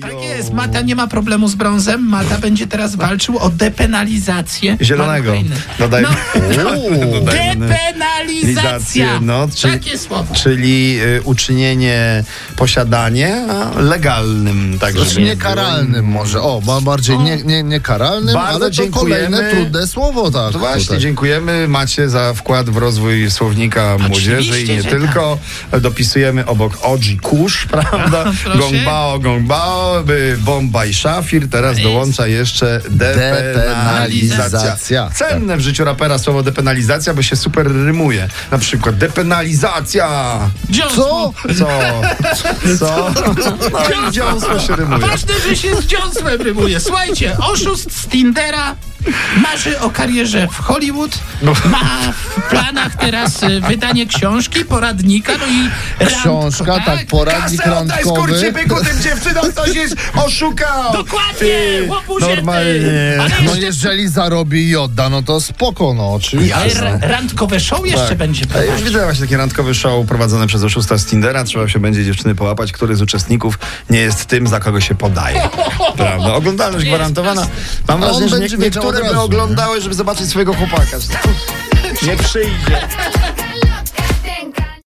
Tak jest, Mata nie ma problemu z brązem. Mata będzie teraz walczył o depenalizację. Zielonego. marihuany. Dodajmy. No. Uuu. Depenalizacja! Lizację, no, czyli- Takie słowo. Czyli y, uczynienie posiadanie a, legalnym. Tak, Znaczy żeby nie nie było. karalnym może. O, ba- No. bardziej nie, nie, nie karalnym, Bardzo ale to kolejne dziękujemy. trudne słowo, tak. No właśnie, tutaj. dziękujemy Macie za wkład w rozwój słownika młodzieży i nie że tak. tylko. Dopisujemy obok Oji Kusz, prawda? proszę. Gongbao, Gongbao, y, Bombaj Szafir. Teraz dołącza jeszcze depenalizacja. Depenalizacja. Cenne w życiu rapera słowo depenalizacja, bo się super rymuje. Na przykład depenalizacja. Dziąsło. Co? Co? Co? No i dziąsło się rymuje. Ważne, że się z dziąsłem rymuje. Słuchajcie, oszust z Tindera marzy o karierze w Hollywood, ma w planach teraz y, wydanie książki, poradnika, no i randko, Książka, tak, poradnik Kasę oddaj randkowy. skurczybyku tym dziewczynom, ktoś jest oszukał. Dokładnie, łobuzie ty. normalnie. Ale No jeszcze jeżeli zarobi i odda, no to spoko, no oczywiście. r- randkowe show jeszcze będzie. Ja już widzę właśnie takie randkowe show prowadzone przez oszusta z Tindera. Trzeba się będzie dziewczyny połapać, który z uczestników nie jest tym, za kogo się podaje. Prawda? Oglądalność Jest gwarantowana. jasne. Mam A on wrażenie, że nie, będzie wiedział niektóre od by razu, nie? oglądały, żeby zobaczyć swojego chłopaka. Nie przyjdzie.